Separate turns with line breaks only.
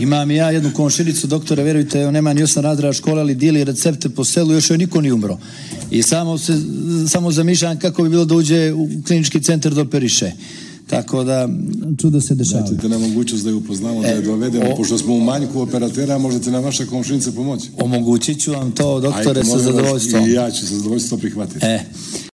Imam i ja jednu komšinicu, doktore, vjerujte, nema ni osam razreda škole, ali dijeli recepte po selu, još joj niko nije umro. I samo, se, samo zamišljam kako bi bilo da uđe u klinički centar da operiše. Tako da, čudo se dešava.
Znači, te nemogućnost da je upoznamo, da je dovedemo,
E, o-
pošto smo u manjku operatera, možete na vaše komšinice pomoći.
Omogućit ću vam to, doktore,
Ajde,
sa
molim vas,
zadovoljstvom.
I ja ću sa zadovoljstvom prihvatiti.
E.